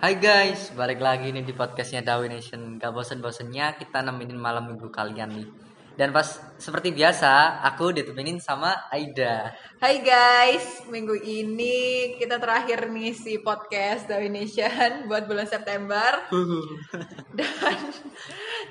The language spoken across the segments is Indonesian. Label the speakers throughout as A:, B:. A: Hai guys, balik lagi nih di podcastnya Dawi Nation. Gak bosen-bosennya kita nemenin malam minggu kalian nih. Dan pas seperti biasa, aku ditemenin sama Aida.
B: Hai guys, minggu ini kita terakhir nih si podcast The Nation buat bulan September dan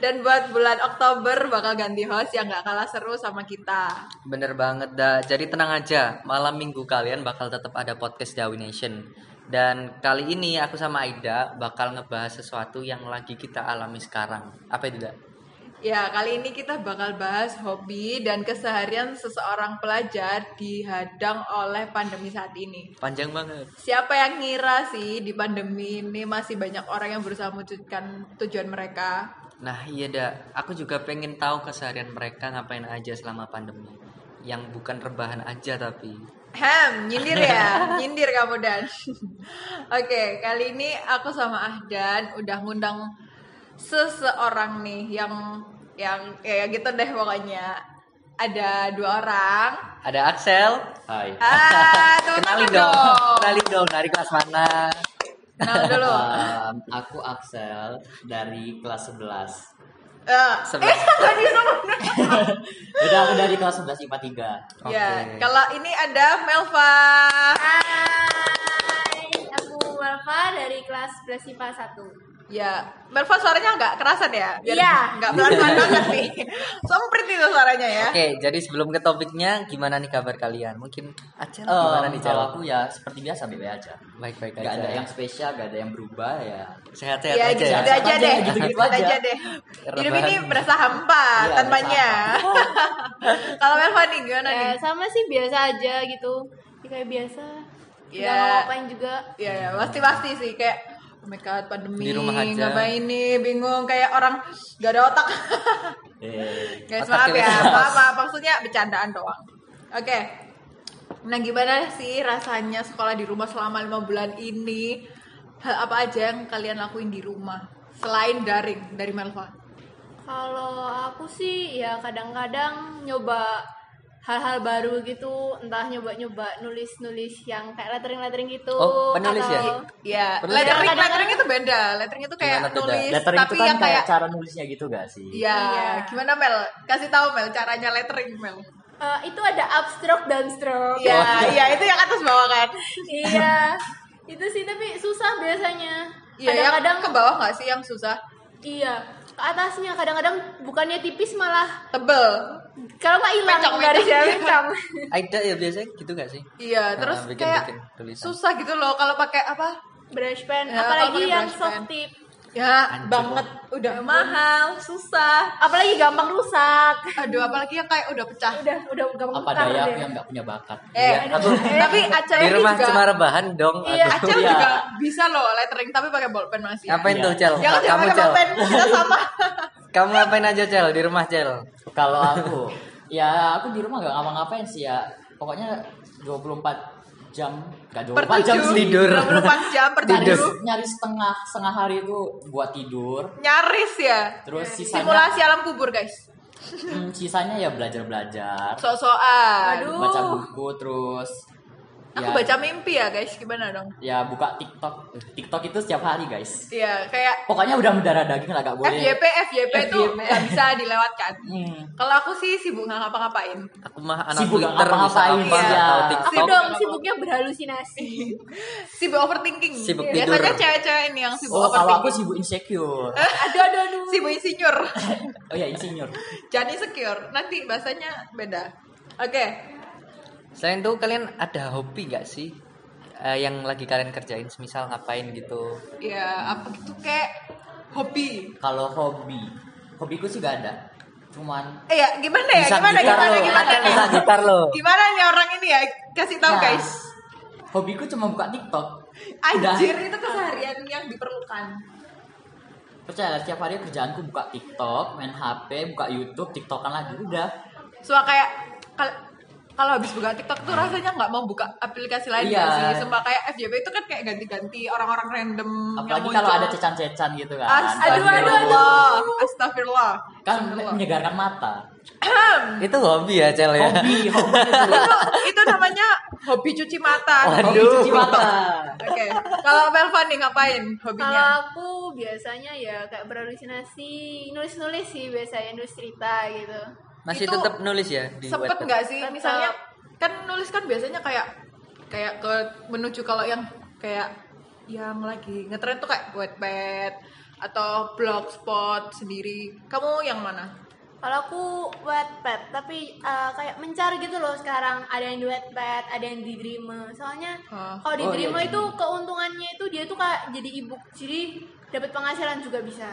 B: dan buat bulan Oktober bakal ganti host yang nggak kalah seru sama kita.
A: Bener banget dah. Jadi tenang aja, malam minggu kalian bakal tetap ada podcast Dawi Nation. Dan kali ini aku sama Aida bakal ngebahas sesuatu yang lagi kita alami sekarang. Apa itu, Da?
B: Ya, kali ini kita bakal bahas hobi dan keseharian seseorang pelajar dihadang oleh pandemi saat ini.
A: Panjang banget.
B: Siapa yang ngira sih di pandemi ini masih banyak orang yang berusaha mewujudkan tujuan mereka?
A: Nah, iya dah. Aku juga pengen tahu keseharian mereka ngapain aja selama pandemi. Yang bukan rebahan aja tapi.
B: Hem, nyindir ya, nyindir kamu Dan. Oke, kali ini aku sama Ahdan udah ngundang seseorang nih yang yang kayak gitu deh pokoknya. Ada dua orang.
A: Ada Axel. Hai.
B: Ah, temen aku
A: Kenalin dong.
B: dong.
A: Kenalin dong dari kelas mana?
B: Kenal dulu.
C: Um, aku Axel dari kelas 11.
B: Eh,
A: Sebelas.
B: eh, tadi sebelumnya.
C: Udah aku dari kelas 11 IPA
A: Oke.
B: Ya, kalau ini ada Melva.
D: Hai, aku Walfa dari kelas 11 IPA 1.
B: Ya, Melva suaranya nggak kerasan ya?
D: Iya.
B: Nggak pelan-pelan banget nih. Semprit itu suaranya ya.
A: Oke, jadi sebelum ke topiknya, gimana nih kabar kalian? Mungkin Oh, Acel
C: 3.
A: gimana
C: Um,
A: nih
C: kalau
A: jawab?
C: aku ya seperti biasa BB aja.
A: Baik-baik aja.
C: Gak ada yang spesial, gak ada yang berubah ya.
A: sehat-sehat
B: Ya,
A: aja
B: gitu
A: ya.
B: aja,
C: Sehat aja,
B: deh.
C: gitu-gitu
B: Gitu aja.
C: aja.
B: deh. Hidup
A: Rebahan.
B: ini berasa hampa
C: Iya,
B: tanpanya. Kalau Melva nih gimana
D: Ya,
B: nih?
D: sama sih biasa aja gitu. Ya, kayak biasa.
B: Ya.
D: Nggak ngapain juga.
B: Ya, ya, pasti-pasti sih kayak Oh my god, pandemi
A: Di rumah aja.
B: ngapain nih? Bingung kayak orang gak ada otak.
C: Eh,
B: Guys,
A: Otak
B: maaf ya.
A: keles.
B: Maaf, maaf. Maksudnya bercandaan doang. Oke. Nah, gimana sih rasanya sekolah di rumah selama lima bulan ini? Hal apa aja yang kalian lakuin di rumah selain daring dari Melva?
D: Kalau aku sih ya kadang-kadang nyoba hal-hal baru gitu, entah nyoba-nyoba nulis-nulis yang kayak lettering-lettering gitu.
A: Oh, penulis ya?
B: Iya,
A: Perlu-
B: lettering,
D: Kadang-kadang-
B: lettering itu beda. Lettering itu kayak
A: Gimana tuh, Da?
B: nulis,
C: letter itu
B: tapi
C: kan
B: yang kayak
C: kayak cara nulisnya gitu gak sih?
B: Iya,
D: Iya.
B: gimana Mel? Kasih tahu Mel caranya lettering Mel.
D: Eh, itu ada upstroke
A: Oh.
D: downstroke.
B: Iya, iya itu yang atas bawah kan.
D: iya. Itu sih tapi susah biasanya.
B: Iya, yang
D: Kadang-kadang
B: ke bawah nggak sih yang susah?
D: Iya, ke atasnya kadang-kadang bukannya tipis malah
B: Tebel.
D: kalau nggak hilang
B: Mencong,
D: garisnya
B: mencong.
D: mencong.
A: Aida ya biasanya gitu gak sih?
B: Iya,
A: Nah,
B: terus
A: bikin-
B: kayak
A: bikin tulisan.
B: susah gitu loh kalau pakai apa?
D: brush pen,
B: Ya,
D: apalagi
B: kalau pakai
D: yang
B: brush
D: soft
B: pen.
D: tip,
B: Ya,
A: Anjir.
B: banget udah mahal, susah.
D: apalagi gampang rusak.
B: Aduh, apalagi yang kayak udah pecah.
D: Udah, udah gampang
C: Apa
D: rusak
C: daya
D: deh.
C: aku yang gak punya bakat.
B: Eh,
C: Iya.
B: aduh, tapi Acel
A: Di
B: ini
A: rumah
B: juga
A: cuma rebahan dong.
D: Iya,
A: Aduh.
B: Acel
C: Iya.
B: juga bisa loh lettering tapi pakai bolpen masih.
A: Ngapain
C: Iya.
A: tuh, Cel?
B: Jangan jangan
A: Kamu,
B: pakai
A: Cel.
B: bolpen, kita sama.
A: Kamu ngapain aja, Cel? Di rumah, Cel?
C: Kalau aku, ya aku di rumah gak ngapa-ngapain sih ya. Pokoknya 24 jam, gak 24
B: per
C: jam
B: tujuh,
C: sih.
A: tidur.
B: 24 jam per
C: Nyari,
B: tujuh.
C: nyari setengah setengah hari itu buat tidur.
B: Nyaris ya.
C: Terus sisanya
B: Simulasi alam kubur, guys.
C: Hmm, sisanya ya belajar-belajar,
B: Sosokan.
D: Aduh.
C: baca iya. buku terus
B: Aku baca mimpi ya, guys. Gimana dong?
C: ya buka TikTok. TikTok itu setiap hari, guys.
B: Iya, kayak
C: Pokoknya udah mendarah daging lah gak boleh.
B: FYP, FYP itu
C: FYP.
B: nggak bisa dilewatkan.
C: Hmm.
B: Kalau aku sih sibuk nggak ngapa-ngapain.
A: Aku mah anak
C: Sibuk
A: Twitter
C: nggak
A: bisa
C: ngapa-ngapain,
A: apa
C: iya.
A: tahu
D: Aku
A: TikTok.
D: dong sibuknya berhalusinasi.
B: Sibuk overthinking.
A: Sibuk
B: Biasanya
A: tidur.
B: cewek-cewek ini yang sibuk
C: Oh, kalau aku
B: overthinking.
C: sibuk insecure.
D: aduh, aduh, aduh.
B: Sibuk insinyur.
C: Oh ya, insinyur.
B: Jadi secure. Nanti bahasanya beda. Oke.
A: Selain itu kalian ada hobi gak sih? Eh, yang lagi kalian kerjain, semisal ngapain gitu?
B: Ya, apa itu kayak hobi.
C: Kalau hobi, hobiku sih gak ada. Cuman
B: Eh ya, gimana ya?
A: Bisa
B: Gimana
A: gitar
B: gimana
A: lo,
B: gimana?
A: Acel bisa gitar lo.
B: Gimana nih orang ini ya? Kasih tahu
C: Nah,
B: guys.
C: hobiku cuma buka TikTok. Udah.
B: Anjir, itu keseharian yang diperlukan.
C: Percayalah, setiap hari kerjaanku buka TikTok, main HP, buka YouTube, TikTokan lagi udah.
B: Suka kayak kal- kalau habis buka TikTok tuh rasanya nggak mau buka aplikasi lain
C: Iya.
B: gitu sih. Sumpah kayak FJB itu kan kayak ganti-ganti orang-orang random yang
C: Apalagi
B: muncul.
C: kalau ada cecan-cecan gitu kan.
B: Astagfirullah. Astagfirullah.
C: Kan menyegarkan mata.
A: Itu hobi ya, Cel ya.
C: Hobi, hobi itu.
B: itu, itu namanya hobi cuci mata.
C: Hobi
A: Aduh.
C: cuci mata.
B: Oke, kalau Melva nih ngapain
D: Kalau
B: hobinya?
D: aku biasanya ya kayak berhalusinasi nulis-nulis sih biasanya nulis cerita gitu.
A: Masih
B: Itu
A: tetap nulis ya di
B: Sempet
A: Wattpad?
B: nggak sih
D: Tetap.
B: misalnya kan nulis kan biasanya kayak kayak ke menuju kalau yang kayak yang lagi ngetren tuh kayak Wattpad atau blogspot sendiri. Kamu yang mana?
D: Kalau aku Wattpad, tapi eh, kayak mencar gitu loh sekarang ada yang di Wattpad, ada yang di Dreamer. Soalnya
B: Hah.
D: kalau di
C: Oh, iya,
D: Dreamer
C: Dreamer.
D: itu keuntungannya itu dia tuh kayak jadi ebook, jadi dapat penghasilan juga bisa.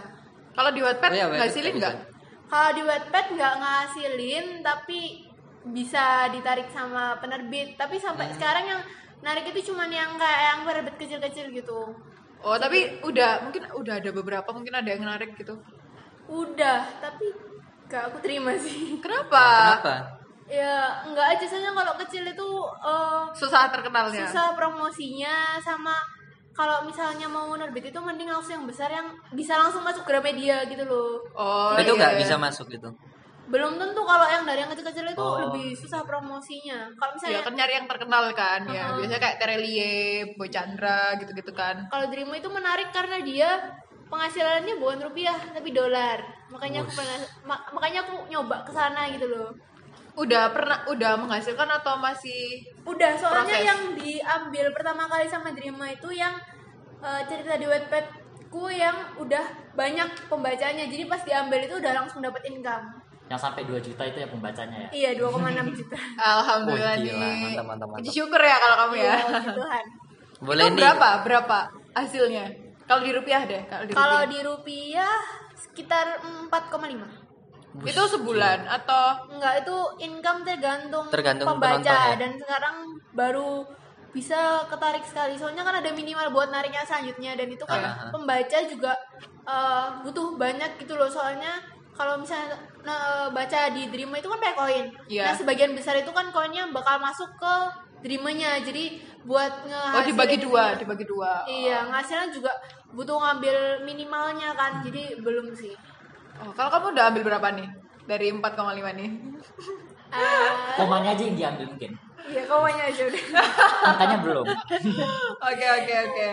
B: Kalau di Wattpad
A: Oh iya, Wattpad
B: ngasilin
A: nggak
B: nggak?
D: Kalau di Wattpad nggak ngasilin, tapi bisa ditarik sama penerbit. Tapi sampai
B: Hmm.
D: sekarang yang narik itu cuman yang kayak yang penerbit kecil-kecil gitu.
B: Oh, tapi udah mungkin udah ada beberapa, mungkin ada yang menarik gitu.
D: Udah, tapi gak aku terima sih.
B: Kenapa?
A: Kenapa?
D: ya nggak aja soalnya kalau kecil itu eh,
B: Susah terkenalnya.
D: susah promosinya sama kalau misalnya mau nerbit itu mending langsung yang besar yang bisa langsung masuk Gramedia gitu loh.
B: Oh,
A: itu
B: iya.
A: nggak bisa masuk gitu.
D: Belum tentu kalau yang dari yang kecil-kecil itu
A: Oh.
D: lebih susah promosinya. Kalau
B: Ya
D: misalnya
B: kan nyari yang terkenal kan ya.
D: Uh-huh.
B: Biasanya kayak Terelie, Boy Chandra gitu-gitu kan.
D: kalau Dreamo itu menarik karena dia penghasilannya bukan rupiah tapi dolar. Makanya aku pengen- ma- makanya aku nyoba ke sana gitu loh.
B: Udah pernah udah menghasilkan atau masih
D: Udah, soalnya
B: Proses.
D: yang diambil pertama kali sama Dreama itu yang eh, cerita di Wattpadku yang udah banyak pembacanya. Jadi pas diambil itu udah langsung dapat income.
C: Yang sampai 2 juta itu ya pembacanya ya.
D: Iya, 2,6 juta.
B: alhamdulillah
A: Wah, gila.
B: nih.
A: Mantap, mantap, mantap.
B: Puji Syukur ya kalau kamu ya.
D: Ya, puji Tuhan.
A: Boleh
B: itu
A: nih.
B: berapa? Berapa hasilnya? Kalau di rupiah deh, kalau di
D: Kalau
B: rupiah.
D: di rupiah sekitar 4,5.
B: itu sebulan atau
D: Enggak, itu income tergantung,
A: Tergantung
D: pembaca
A: penonton ya?
D: dan sekarang baru bisa ketarik sekali. Soalnya kan ada minimal buat nariknya selanjutnya dan itu kan
A: Aha.
D: pembaca juga eh, butuh banyak gitu loh. Soalnya kalau misalnya nah, baca di Dreama itu kan pakai koin.
B: Iya.
D: Nah, sebagian besar itu kan koinnya bakal masuk ke Dreamanya. Jadi buat nge
B: oh dibagi dua, dibagi dua.
D: ya. Iya, ngasilnya juga butuh ngambil minimalnya kan. Jadi belum sih.
B: Oh, kalau kamu udah ambil berapa nih? Dari 4,5 nih.
D: Eh,
C: Komanya aja yang diambil mungkin.
D: Iya, kawannya aja udah.
C: Angkanya belum.
B: Oke oke oke.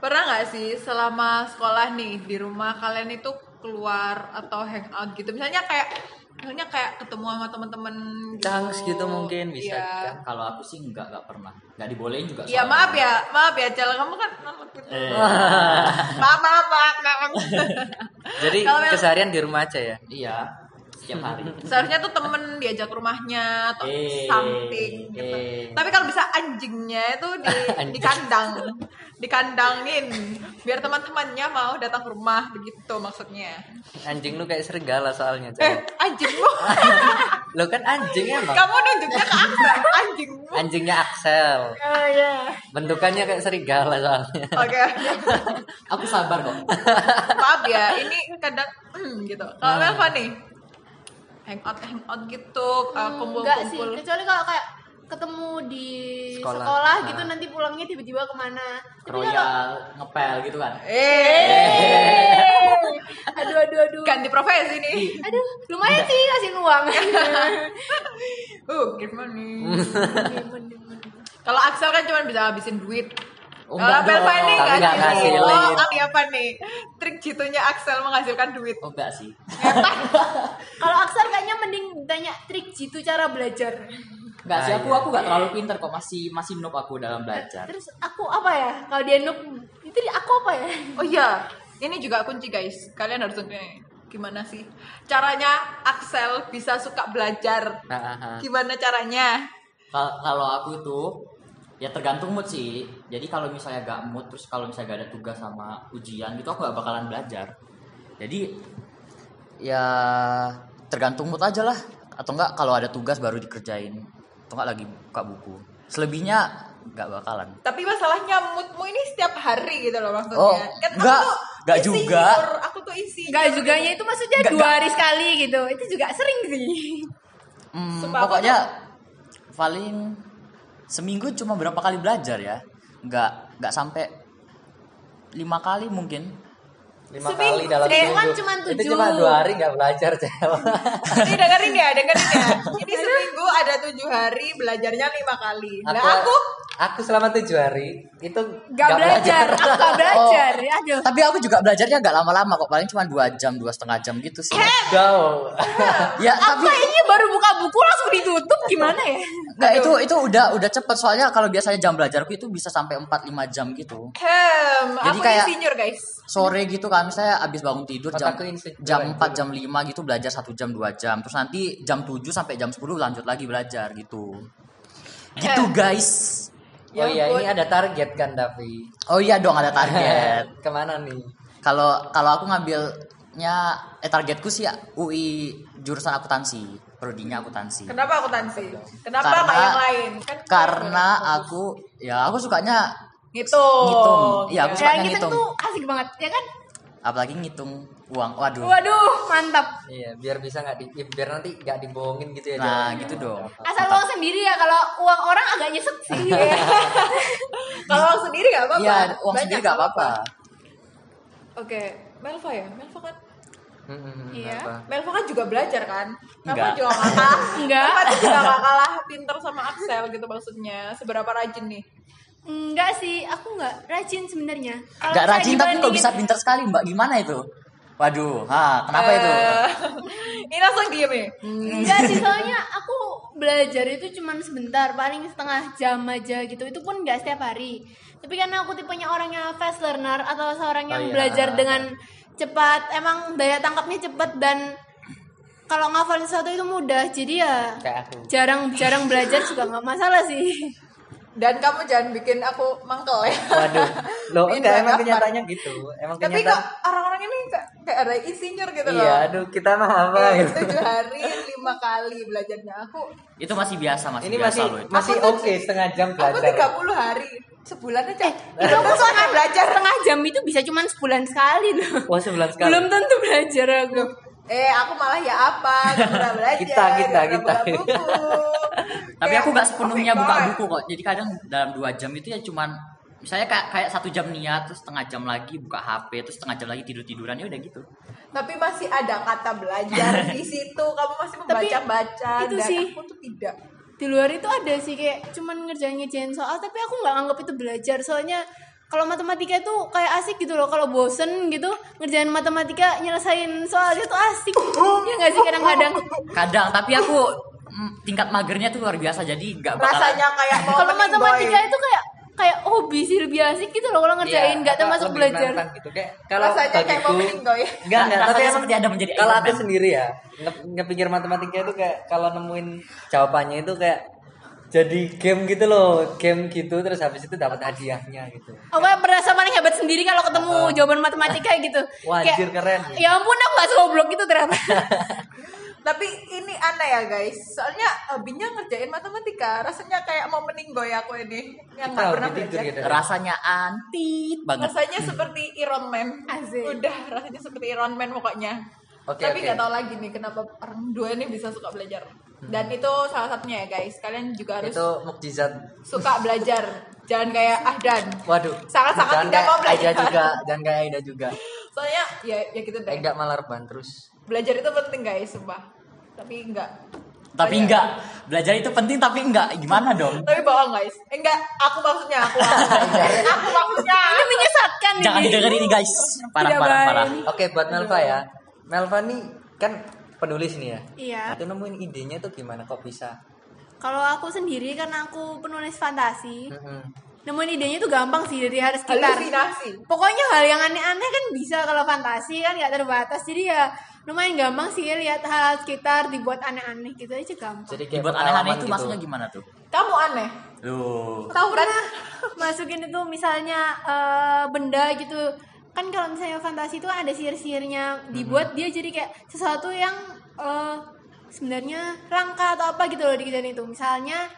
B: Pernah nggak sih selama sekolah nih di rumah kalian itu keluar atau hangout gitu? Misalnya kayak misalnya kayak ketemu sama teman-teman gitu.
A: Cangs gitu mungkin bisa,
B: Iya.
A: kan?
C: Kalau aku sih enggak enggak pernah. Enggak dibolehin juga.
B: Iya
C: soalnya.
B: maaf ya, maaf ya Cel, kamu kan anak gitu.
C: Eh,
B: maaf maaf maaf. maaf.
A: Jadi
B: Kalau yang-
A: keseharian di rumah aja ya.
C: iya. Setiap hari.
B: Seharusnya tuh temen diajak ke rumahnya atau
C: Eh,
B: something gitu.
C: eh.
B: Tapi kalau bisa anjingnya itu di,
A: Anjing.
B: di kandang, dikandangin biar teman-temannya mau datang ke rumah begitu maksudnya.
A: Anjing lu kayak serigala soalnya,
B: Eh,
A: Cel.
B: anjingmu.
A: Lo kan anjing emang.
B: Kamu nunjuknya ke Axel, anjingmu.
A: Anjingnya Axel.
D: Oh iya.
A: Bentukannya kayak serigala soalnya.
B: Oke,
C: Aku sabar kok.
B: maaf ya, ini kadang hmm, gitu. Kalau
C: Ah.
B: Melva nih, hangout hangout gitu, uh,
D: Hmm, Enggak sih,
B: kumpul-kumpul.
D: kecuali kalau kayak ketemu di
A: Sekolah.
D: sekolah,
A: Ah.
D: gitu nanti pulangnya tiba-tiba kemana Tapi kalau-
C: Royal ngepel gitu kan.
B: Eh,
D: aduh aduh aduh
B: ganti profesi nih.
C: Iya.
D: aduh lumayan sih kasih uang
B: Uh, gimana nih?
D: Demen, demen.
B: Kalau Axel kan cuma bisa habisin duit.
C: Oh,
B: Kalau
C: enggak
B: Melva
C: dong.
B: nih
A: Tapi
B: nggak
A: nggak
B: sih.
A: ngasilin.
B: Oh, kali apa nih? Trik jitunya Axel menghasilkan duit.
C: Oh, enggak sih.
D: kalau Aksar kayaknya mending tanya trik jitu cara belajar
C: Enggak sih
A: Ah,
C: aku
A: iya.
C: aku enggak terlalu pinter kok. Masih masih noob aku dalam belajar.
D: terus aku apa ya kalau dia nuk itu dia- aku apa ya
B: Oh iya, ini juga kunci guys. Kalian harus dengerin. Gimana sih caranya Axel bisa suka belajar?
C: Nah,
A: Ah, ah, ah.
B: Gimana caranya?
C: Kal- kalau aku tuh ya tergantung mood sih jadi kalau misalnya gak mood terus kalau misalnya gak ada tugas sama ujian gitu aku gak bakalan belajar jadi ya tergantung mood aja lah atau enggak kalau ada tugas baru dikerjain atau enggak lagi buka buku selebihnya gak bakalan
B: Tapi masalahnya moodmu ini setiap hari gitu loh maksudnya.
C: Oh, nggak,
B: aku tuh
C: nggak
B: isi,
C: juga.
B: Nur. aku tuh isi.
D: Enggak juganya itu maksudnya
C: Nggak,
D: dua hari sekali gitu itu juga sering sih
C: Hmm,
B: Sumpah aku
C: pokoknya paling seminggu cuma berapa kali belajar ya nggak nggak sampai lima kali mungkin
A: lima
D: Tapi
A: kali dalam
D: sebulan
B: Kan
A: seminggu.
D: cuman
A: Itu
D: tujuh.
A: cuma dua hari nggak belajar cewek.
B: Ini dengerin ya, dengerin ya. Ini seminggu ada tujuh hari, belajarnya lima kali. Nah aku,
A: aku selama tujuh hari itu
D: Gak belajar, aku gak belajar.
C: Oh.
D: Ya, aduh.
C: Tapi aku juga belajarnya nggak lama-lama kok, paling cuma dua jam, dua setengah jam gitu sih.
A: Jauh.
C: Ya, tapi
D: Kayaknya baru buka buku langsung ditutup gimana ya?
C: nggak itu itu udah udah cepet soalnya kalau biasanya jam belajarku itu bisa sampai 4-5 jam gitu.
B: hem,
C: Jadi
B: aku
C: kayak-
B: insinyur guys.
C: Sore gitu kan misalnya abis bangun tidur jam
A: Otakku insecure.
C: jam 4 jam 5 gitu belajar satu jam dua jam terus nanti jam 7 sampai jam 10 lanjut lagi belajar gitu. Gitu guys.
B: Ya
A: oh iya ini ada target kan tapi.
C: Oh iya dong ada target.
A: Kemana nih?
C: Kalau kalau aku ngambilnya eh targetku sih UI jurusan akuntansi, prodinya akuntansi.
B: Kenapa aku tansi? Kenapa
C: Karena-
B: nggak yang lain? Kan
C: Karena aku ya aku sukanya
B: ngitung.
C: ngitung. Iya, aku
D: Ya,
C: sukanya
D: kita
C: ngitung.
D: tuh asik banget, ya kan?
C: Apalagi ngitung uang. Waduh.
D: Waduh, mantap.
A: Iya, biar bisa nggak di, ya, biar nanti nggak dibohongin gitu ya.
C: Nah,
A: jawabannya.
C: gitu dong.
D: Asal uang sendiri ya, kalau uang orang agak nyesek sih.
B: Kalau aku sendiri nggak apa-apa.
C: Iya, uang
B: Banyak,
C: sendiri gak apa-apa.
B: Oke, Melva ya, Melva kan.
A: Hmm, hmm,
D: Iya.
A: apa?
B: Melva kan juga belajar kan? Melva
C: Enggak.
B: juga nggak kalah.
D: Enggak.
B: Melva tuh juga nggak kalah pinter sama Axel gitu maksudnya. Seberapa rajin nih?
D: Enggak sih, aku enggak rajin sebenarnya. Kalau
C: Gak
D: misalnya
C: rajin tapi kok
D: dibandingin-
C: bisa pinter sekali, Mbak. Gimana itu? Waduh, ha, kenapa itu?
B: Eh, ini langsung diem nih.
C: Hmm.
D: Enggak sih, soalnya aku belajar itu cuman sebentar, paling setengah jam aja gitu. Itu pun enggak setiap hari. Tapi karena aku tipenya orangnya fast learner atau seorang
A: Oh,
D: yang
A: iya.
D: belajar dengan cepat, emang daya tangkapnya cepat dan kalau ngafalin sesuatu itu mudah. Jadi ya
A: Kayak aku.
D: jarang-jarang belajar juga nggak masalah sih.
B: Dan kamu jangan bikin aku mangkel ya.
A: Waduh. Loh,
B: Ini
A: enggak emang
B: apa?
A: kenyataannya gitu. Emang
B: Tapi kok
A: kenyataan.
B: orang-orang ini kayak, kayak ada insinyur gitu loh.
A: Iya, aduh kita mah apa
B: Iya,
A: gitu.
B: Tujuh hari lima kali belajarnya aku.
C: Itu masih biasa, masih
A: Ini
C: biasa
A: masih
C: loh. itu.
A: masih
B: Aku tuh-
A: oke setengah jam
B: Aku
A: belajar. Eh,
B: tiga puluh hari sebulan aja.
D: Itu aku soalnya belajar setengah jam itu bisa cuman sebulan sekali loh.
A: Wah, sebulan sekali.
D: Belum tentu belajar aku.
B: Eh aku malah ya apa? Gak pernah belajar.
A: Kita, kita,
B: gak pernah
A: kita.
B: buka buku.
C: Tapi
B: Kayak,
C: aku gak sepenuhnya
B: oh my
C: buka
B: God.
C: buku kok. Jadi kadang dalam dua jam itu ya cuman misalnya kayak kayak satu jam niat, terus setengah jam lagi buka HP, terus setengah jam lagi tidur tiduran ya udah gitu.
B: Tapi masih ada kata belajar di situ. Kamu masih membaca-baca.
D: itu
B: dan
D: sih.
B: Aku tuh tidak.
D: Di luar itu ada sih kayak cuman ngerjain ngerjain soal tapi aku nggak anggap itu belajar soalnya kalau matematika itu kayak asik gitu loh kalau bosen gitu ngerjain matematika nyelesain soal itu asik ya nggak sih kadang-kadang
C: Kadang, tapi aku mm, tingkat magernya tuh luar biasa jadi gak bakal
B: Rasanya kayak mau
D: kalau
B: mening
D: matematika
B: boy.
D: itu kayak kayak hobi sih lebih asik gitu loh
A: Iya,
D: kalau ngerjain nggak termasuk belajar
A: gitu kayak kalau
B: Rasanya kayak mau
A: bagiku-
B: meninggal ya.
A: Enggak, enggak,
C: Rasanya
A: tapi emang
C: seperti ada menjadi
A: kalau
C: Iron
A: aku
C: Man.
A: sendiri ya, nge- ngepikir matematika itu kayak kalau nemuin jawabannya itu kayak jadi game gitu loh, game gitu terus habis itu dapat hadiahnya gitu.
D: Aku kayak merasa paling hebat sendiri kalau ketemu jawaban matematika gitu.
A: Wah,
D: Kayak,
A: anjir, keren.
D: Ya ampun, aku gak segoblok itu ternyata.
B: Tapi ini aneh ya guys. Soalnya hobinya ngerjain matematika. Rasanya kayak mau meninggoy aku ini.
A: Kita
B: Yang nggak
A: hobi
B: pernah
A: tidur
B: belajar.
A: gitu.
C: rasanya antit banget.
B: Rasanya seperti Iron Man.
D: Asik.
B: Udah rasanya seperti Iron Man pokoknya.
A: Oke, oke.
B: Tapi nggak tahu lagi nih kenapa orang dua ini bisa suka belajar. Dan itu salah satunya ya guys. Kalian juga harus
A: Hmm. Itu mukjizat.
B: suka belajar. Jangan kayak Ah Ahdan.
A: Waduh.
B: Sangat-sangat
A: jangan
B: tidak
A: kayak
B: mau belajar.
A: Aida juga, jangan kayak Aida juga.
B: Soalnya ya ya gitu deh.
A: Aida malah rebahan terus.
B: Belajar itu penting guys, sumpah. Tapi enggak.
C: Tapi enggak, belajar itu penting tapi enggak. Gimana dong?
B: Tapi bohong guys. Eh, enggak, aku maksudnya aku. Aku, aku maksudnya.
D: Ini menyesatkan
C: Jangan
D: ini.
C: didengerin ini guys. Parah
D: iya, Tidak
C: parah
D: baik.
C: parah.
A: Oke, buat Melva ya. Melva nih kan penulis nih ya.
D: Iya.
A: Itu nemuin idenya tuh gimana kok bisa?
D: Kalau aku sendiri karena aku penulis fantasi,
A: Mm-mm.
D: nemuin idenya itu gampang sih dari hari sekitar.
B: Halusinasi.
D: Pokoknya hal yang aneh-aneh kan bisa kalau fantasi kan nggak terbatas. Jadi ya lumayan gampang sih ya lihat hal sekitar dibuat aneh-aneh gitu aja gampang.
A: Jadi kayak
C: Dibuat
A: pengalaman
C: aneh-aneh itu
A: gitu.
C: maksudnya gimana tuh?
B: Kamu aneh.
C: Loh.
B: Tahu kan?
D: masukin itu misalnya eh, benda gitu kan kalau misalnya fantasi itu ada sihir-sihirnya dibuat
B: Hmm.
D: dia jadi kayak sesuatu yang eh, sebenarnya rangka atau apa gitu loh di kejadian itu misalnya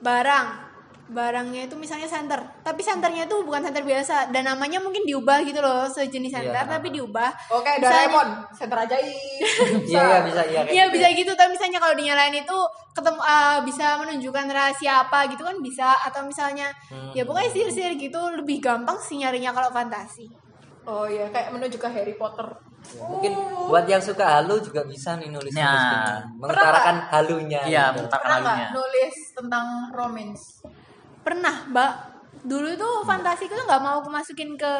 D: barang barangnya itu misalnya senter tapi senternya itu bukan senter biasa dan namanya mungkin diubah gitu loh sejenis senter
A: Iya.
D: tapi diubah
B: Oke,
D: Misalnya-
B: Doraemon, senter
A: Iya,
B: ajaib.
A: iya bisa iya kayak
D: Iya
A: gitu.
D: bisa gitu tapi misalnya kalau dinyalain itu ketemu eh, bisa menunjukkan rahasia apa gitu kan bisa atau misalnya ya pokoknya sihir-sihir gitu lebih gampang sih nyarinya kalau fantasi.
B: Oh iya, kayak menuju ke Harry Potter.
A: Ya, Mungkin buat yang suka halu juga bisa nih nulis
C: Nah.
A: nulis gini. mengutarakan halunya.
C: Iya,
A: gitu.
C: bentar
B: Pernah nggak
C: halunya.
B: nulis tentang romance?
D: pernah mbak dulu tuh fantasiku tuh nggak mau aku masukin ke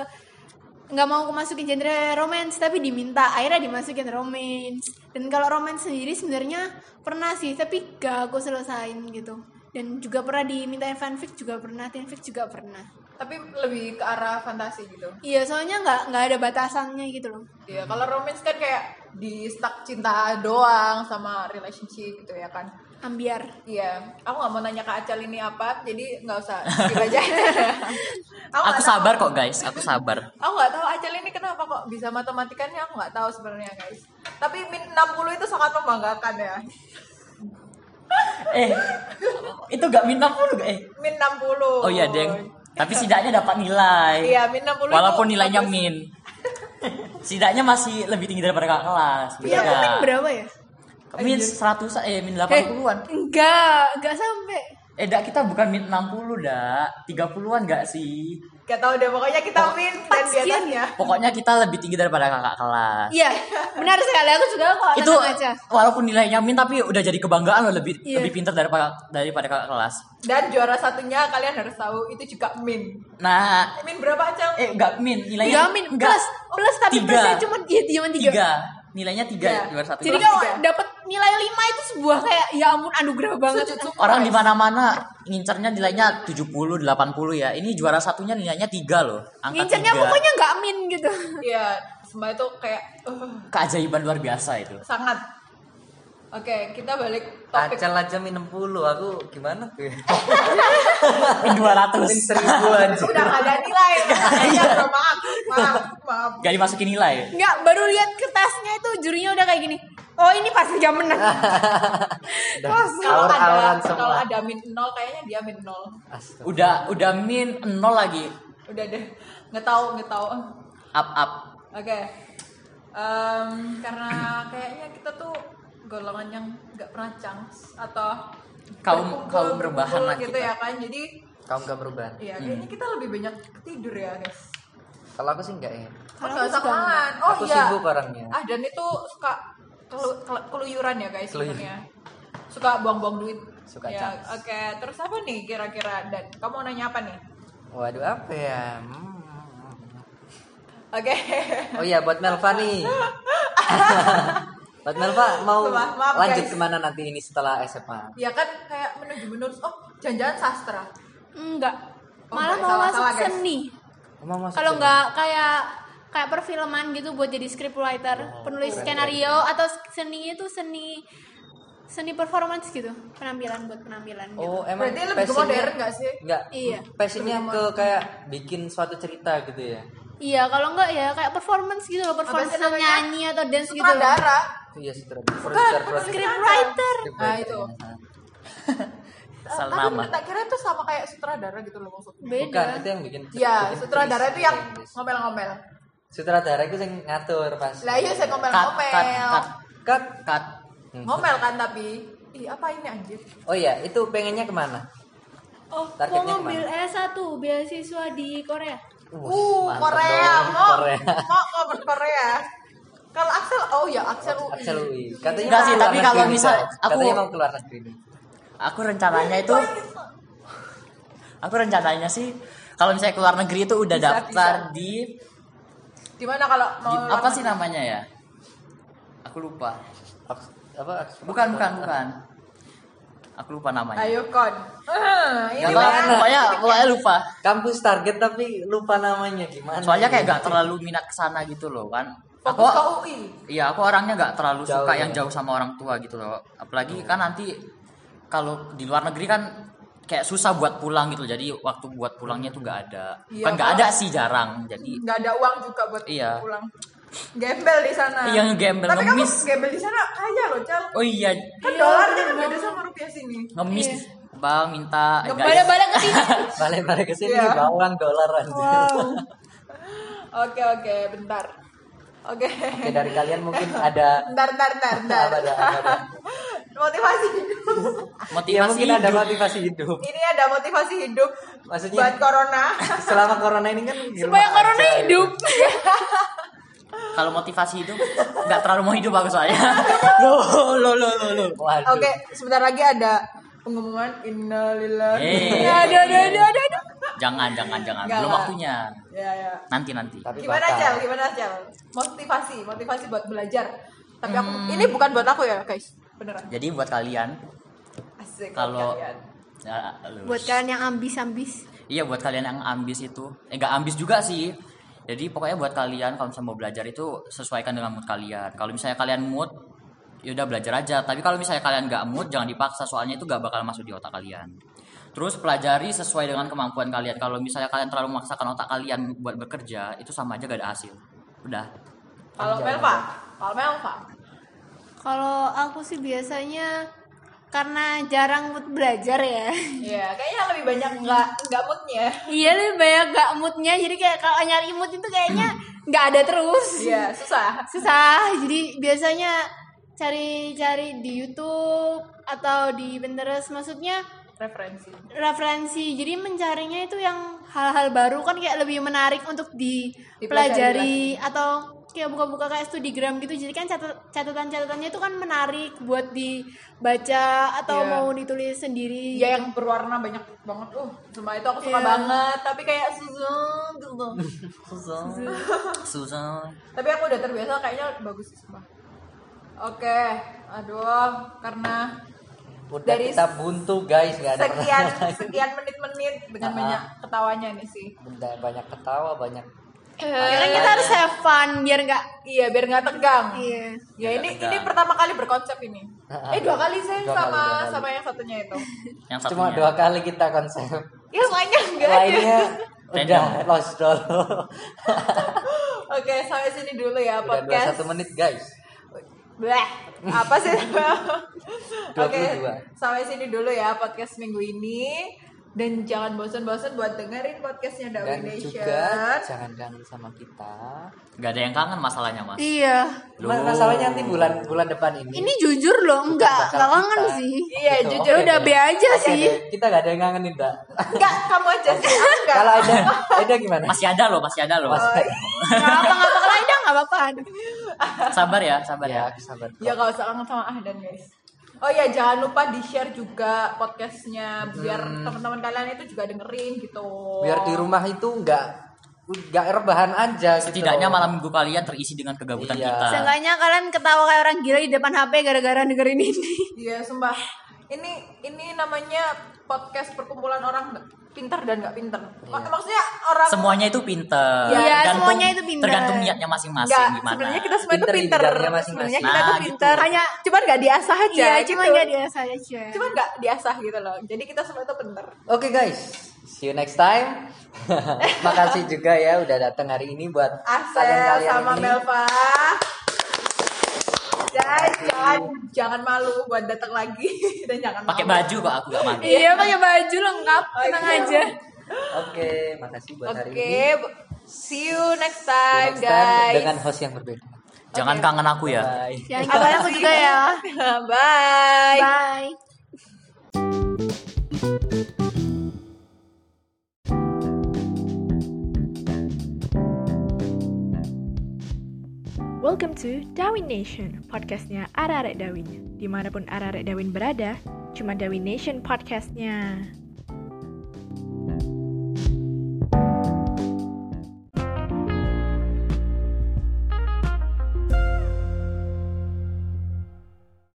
D: nggak mau aku masukin genre romance tapi diminta akhirnya dimasukin romance dan kalau romance sendiri sebenarnya pernah sih tapi gak aku selesain gitu dan juga pernah dimintain fanfic juga pernah fanfic juga pernah
B: Tapi lebih ke arah fantasi gitu.
D: iya soalnya nggak nggak ada batasannya gitu loh
B: Iya,
C: Hmm.
B: kalau romance kan kayak di stuck cinta doang sama relationship gitu ya kan.
D: ambiar
B: Iya, aku nggak mau nanya ke Acal ini apa, jadi nggak usah skip aja. aku
C: Aku
B: nggak tahu-
C: sabar kok guys, aku sabar.
B: aku nggak tahu Acal ini kenapa kok bisa matematikannya aku nggak tahu sebenarnya guys. Tapi min 60 itu sangat membanggakan ya.
C: Eh, itu gak minta pun gak eh.
B: Min 60.
C: Oh iya deng. Tapi setidaknya dapat nilai.
B: Iya, min 60.
C: Walaupun
B: itu
C: nilainya
B: bagus.
C: min. Setidaknya masih lebih tinggi daripada kakak kelas.
D: iya aku min
C: Beda.
D: berapa ya
C: Min 100 eh min
D: eh
C: 80-an.
D: enggak enggak sampai
C: Eh, dak kita bukan min 60, dak. 30-an gak sih?
B: Gak tau deh, pokoknya kita
C: Oh,
B: min dan di
D: sekian.
C: ya?
B: atasnya.
C: Pokoknya kita lebih tinggi daripada kakak kelas.
D: iya benar sekali aku juga kok
C: itu
D: tenang aja
C: walaupun nilainya min tapi udah jadi kebanggaan loh lebih
D: Iya.
C: lebih pintar daripada daripada kakak kelas.
B: Dan juara satunya kalian harus tahu itu juga min.
C: Nah,
B: Min berapa Acal?
C: eh enggak min nilainya
D: Enggak min
C: enggak.
D: plus plus tapi
C: Tiga.
D: plusnya cuma iya cuma tiga.
C: tiga. Nilainya tiga
B: Iya.
C: juara satu.
D: Jadi
B: Plus
D: kalau
B: tiga.
D: dapat nilai lima itu sebuah kayak ya ampun anugerah banget.
C: Orang di mana-mana ngincernya nilainya 70 80 ya. Ini juara satunya nilainya tiga loh. Angka
D: Ngincernya
C: tiga.
D: pokoknya nggak min gitu.
B: Iya, semua itu kayak uh,
C: keajaiban luar biasa itu.
B: sangat. Oke, kita balik topik.
A: Acal aja min 60, aku gimana tuh? ya?
C: Min 200.
A: Min 1000 aja.
B: Udah gak ada nilai,
C: Iya,
B: makanya bro, maaf, maaf, maaf.
C: Gak dimasukin nilai.
D: Nggak baru lihat kertasnya itu jurinya udah kayak gini. Oh ini pasti gak menang.
A: Udah,
B: Kalau ada,
A: Awur-awuran
B: kalau
A: semua.
B: ada min nol, kayaknya dia min nol.
A: Astaga.
C: Udah udah min 0 lagi.
B: Udah deh, nggak tahu, nggak tahu.
C: Up up.
B: Oke, Em, karena kayaknya kita tuh golongan yang nggak pernah chance atau
C: Kaum-
B: berkumpul-
C: kaum rebahan
B: berkumpul
C: lah
B: gitu
C: kita.
B: ya kan. Jadi
A: Kamu gak perubahan.
B: ya kayaknya kita lebih banyak tidur ya guys.
A: Kalau aku sih enggak ya.
B: Kan nggak
D: Kalau aku
B: usah
D: suka
B: kelamaan. Oh
A: aku
B: iya.
A: sibuk orangnya.
B: Ah dan itu suka kelu- kelu- keluyuran ya guys
A: Keluyuran.
B: sebenarnya. Suka buang-buang duit.
A: Suka
B: ya,
A: chance.
B: Oke, terus apa nih kira-kira dan kamu mau nanya apa nih?
A: Waduh apa ya? Hmm.
B: Oke.
A: Oh iya buat Melva nih. buat Melva mau
B: Maaf, maaf,
A: lanjut
B: guys.
A: kemana nanti ini setelah SMA?
B: ya kan kayak menuju menulis oh jangan-jangan sastra.
D: Enggak.
B: Oh,
D: Malah
B: nggak,
D: mau
B: salah,
D: masuk
B: salah, guys.
D: seni.
A: Mau masuk
D: Kalau
A: sini?
D: nggak kayak kayak perfilman gitu buat jadi scriptwriter, penulis
A: Oh, keren,
D: skenario atau seninya tuh seni seni performance gitu, penampilan buat penampilan gitu.
A: Oh emang
B: Berarti lebih ke
A: passionnya-
B: modern nggak sih?
A: Nggak.
D: Iya.
A: Passionnya ke kayak bikin suatu cerita gitu ya.
D: Iya, kalau enggak ya kayak performance gitu loh, performance
B: sih namanya?
D: nyanyi atau dance gitu. loh.
B: Sutradara.
A: Itu ya sutradara. Produser, produser. ya,
D: Scriptwriter.
A: gitu.
B: Nah, Kan,
A: Iya.
B: itu.
C: Asal
B: Tapi
C: nama.
B: tak kira itu sama kayak sutradara gitu loh maksudnya.
A: Bukan,
D: Beda.
A: itu yang bikin.
B: Iya,
A: bikin
B: sutradara
A: tulis.
B: itu yang ngomel-ngomel.
A: Sutradara itu yang ngatur pas.
B: Lah iya saya
C: Cut cut
B: ngomel-ngomel.
C: cut cut cut.
A: Hmm.
B: Ngomel kan tapi Ih, apa ini anjir?
A: Oh iya, itu pengennya kemana?
D: Oh, mau
A: Targetnya
D: ngambil S1 beasiswa di Korea.
A: Wah,
B: Uh,
A: mantep
B: Korea,
A: dong,
B: mau
A: Korea.
B: mau ngomong Korea. Kalau Axel, oh ya Axel UI.
A: Axel UI. Katanya
C: Enggak
A: mau
C: sih,
A: keluar
C: tapi
A: negeri
C: kalau
A: nih,
C: misal
A: Kak.
C: aku-
A: katanya mau keluar negeri nih.
C: Aku rencananya itu aku rencananya sih kalau misalnya keluar negeri itu udah daftar di
B: Gimana kalau mau
C: di- apa sih namanya ya? Aku lupa.
A: Aks- apa Aks-
C: Bukan, bukan, bukan. Aku lupa namanya.
B: Ayo kon. Ah,
C: Gak
B: ini
C: tau,
B: mana?
C: pokoknya, pokoknya lupa.
A: kampus target tapi lupa namanya gimana
C: Soalnya kayak gak terlalu minat kesana gitu loh kan.
B: Fokus
C: Aku,
B: ke UI.
C: iya aku orangnya gak terlalu
A: Jauh
C: suka
A: ya.
C: yang jauh sama orang tua gitu loh. Apalagi kan nanti kalau di luar negeri kan kayak susah buat pulang gitu. Jadi waktu buat pulangnya tuh gak ada.
B: Iya,
C: kan gak
B: kalau-
C: ada sih jarang. Jadi
B: Gak ada uang juga buat
C: Iya.
B: pulang. Gembel di sana.
C: Iya, ngegembel,
B: Tapi kamu
C: ngemis.
B: gembel di sana kaya loh, Cal.
C: oh iya
B: Kan dolarnya kan beda sama rupiah sini.
C: ngemis
D: Iya.
C: bang minta eh, guys.
D: Balik-balik ke sini.
A: balik-balik ke sini
B: Iya.
A: bawang dolar anjir.
B: Oke, oke, bentar. Oke.
A: Oke, dari kalian mungkin ada
B: Iya. Bentar, bentar, bentar, bentar.
A: Apa ada, apa ada?
B: motivasi hidup.
A: ya
C: motivasi
A: mungkin ada
C: hidup.
A: motivasi hidup
B: Ini ada motivasi hidup
A: Maksudnya-
B: buat corona.
A: selama corona ini kan di
D: supaya
A: rumah
D: corona
A: aja,
D: hidup
C: kalau motivasi hidup nggak terlalu mau hidup aku soalnya lo lo lo lo lo waduh
B: Oke, sebentar lagi ada pengumuman innalillahi.
C: Eh,
D: aduh aduh aduh aduh aduh
C: jangan jangan jangan
B: Nggak
C: belum
B: lah.
C: waktunya
B: Ya, ya.
C: nanti nanti
A: Tapi
B: Gimana
A: bakal.
B: Cel? Gimana Cel? Motivasi, motivasi buat belajar. Tapi aku ini bukan buat aku ya, guys. Beneran.
C: jadi buat kalian
B: Asik buat
C: kalau
B: kalian.
C: Ya, lu.
D: buat kalian yang ambis ambis
C: iya buat kalian yang ambis itu eh nggak ambis juga sih jadi pokoknya buat kalian kalau misalnya mau belajar itu sesuaikan dengan mood kalian kalau misalnya kalian mood ya udah belajar aja tapi kalau misalnya kalian nggak mood jangan dipaksa soalnya itu nggak bakal masuk di otak kalian terus pelajari sesuai dengan kemampuan kalian kalau misalnya kalian terlalu memaksakan otak kalian buat bekerja itu sama aja gak ada hasil udah
B: Kalau Melva, kalau Melva.
D: kalau aku sih biasanya karena jarang buat belajar ya
B: Iya, kayaknya lebih banyak nggak nggak moodnya. ya.
D: iya lebih banyak gak moodnya jadi kayak kalau nyari mood itu kayaknya nggak ada terus
B: Iya, susah.
D: susah jadi biasanya cari-cari di YouTube atau di Pinterest maksudnya
B: Referensi.
D: referensi jadi mencarinya itu yang hal-hal baru kan kayak lebih menarik untuk
B: Dipelajari
D: dipelajari atau kayak buka-buka kayak studigram gitu jadi kan catat- catatan-catatannya itu kan menarik buat dibaca atau
B: Iya.
D: mau ditulis sendiri
B: Iya yang berwarna banyak banget. Uh, semua itu aku suka
D: Iya.
B: banget. Tapi kayak susah gitu.
C: susah susah
B: Tapi aku udah terbiasa kayaknya bagus sih semua. Oke, aduh, karena
A: udah
B: Dari
A: kita buntu guys nggak ada
B: sekian
A: pertanyaan lagi.
B: sekian menit-menit dengan
A: Ah.
B: banyak ketawanya ini sih.
A: Bentar, banyak ketawa banyak
D: karena kita harus have fun biar nggak
B: Iya, biar nggak tegang.
D: iya
B: Ya
C: Biar
B: ini
C: nggak
B: ini
C: tegang.
B: pertama kali berkonsep ini.
A: Ah,
B: Eh dua kali saya
A: Dua
B: sama
A: kali, dua kali.
B: sama yang satunya itu.
C: yang satunya
A: cuma dua kali kita konsep
D: Iya.
B: Ya lainnya enggak ada.
A: lainnya udah
C: Random.
A: lost dulu
B: Oke, sampai sini dulu ya
A: udah dua
B: podcast.
A: satu menit guys
B: Bleh, apa sih? Oke,
A: 22.
B: sampai sini dulu ya podcast minggu ini. Dan jangan bosan-bosan buat dengerin podcastnya Dawi
A: dan
B: Nation.
A: juga jangan ganggu sama kita
C: nggak ada yang kangen masalahnya mas
D: iya
A: Mas, masalahnya nanti bulan bulan depan ini
D: ini jujur loh nggak
A: bakal
D: nggak kangen
A: kita.
D: sih Ya
B: Iya,
A: Gitu,
B: jujur
A: oke
D: udah
A: deh.
D: be aja
A: Oke
D: sih
A: deh, kita gak ada yang ngangenin dah
B: Enggak, kamu aja sih. Aku enggak.
A: kalau ada ada gimana
C: masih ada loh masih ada loh
D: Oh,
A: Mas,
D: iya. nggak apa nggak bakal ada nggak apa-apa
C: sabar ya sabar
A: ya
C: ya
A: aku sabar
B: Ya gak usah kangen sama Ahdan guys. Oh ya jangan lupa di share juga podcastnya biar teman-teman kalian itu juga dengerin gitu.
A: Hmm. biar di rumah itu nggak nggak rebahan aja gitu.
C: setidaknya malam minggu kalian terisi dengan kegabutan
A: Iya.
C: kita
D: Seenggaknya kalian ketawa kayak orang gila di depan HP gara-gara dengerin ini.
B: Iya sumpah. Ini ini namanya podcast perkumpulan orang pintar dan nggak pintar. Mak-
A: Iya.
B: Maksudnya orang
C: semuanya itu pinter
D: Iya,
C: Tergantung-
D: semuanya itu pinter.
C: tergantung niatnya masing-masing
B: nggak
C: gimana
B: sebenarnya kita semua itu
A: Pinter di
B: pintar.
A: bidangnya masing-masing.
B: Sebenarnya kita
D: Ah,
B: tuh
C: Nah, gitu.
B: pintar. Hanya cuman nggak diasah aja.
D: Iya, cuma
B: gitu.
D: nggak biasa aja.
B: Cuman nggak diasah gitu loh. Jadi kita semua itu pintar.
A: oke guys see you next time makasih juga ya udah datang hari ini buat
B: Asel
A: kalian-kalian
B: sama
A: ini.
B: Melva. Dan jangan jangan malu buat datang lagi dan jangan
C: pakai
B: malu.
C: baju kok aku gak malu
D: Iya, pakai baju lengkap, tenang
B: Oke.
D: aja.
A: oke makasih buat
B: Oke,
A: hari ini
B: bu- see you next
A: See you
B: time,
A: next time
B: guys.
A: dengan host yang berbeda
C: jangan kangen aku ya
A: bye
D: Yang kalian aku juga ya.
B: Bye.
D: Bye.
E: Welcome to Dawin Nation, podcastnya Ararek Dawin. Dimanapun Ararek Dawin berada, cuma Dawin Nation podcastnya.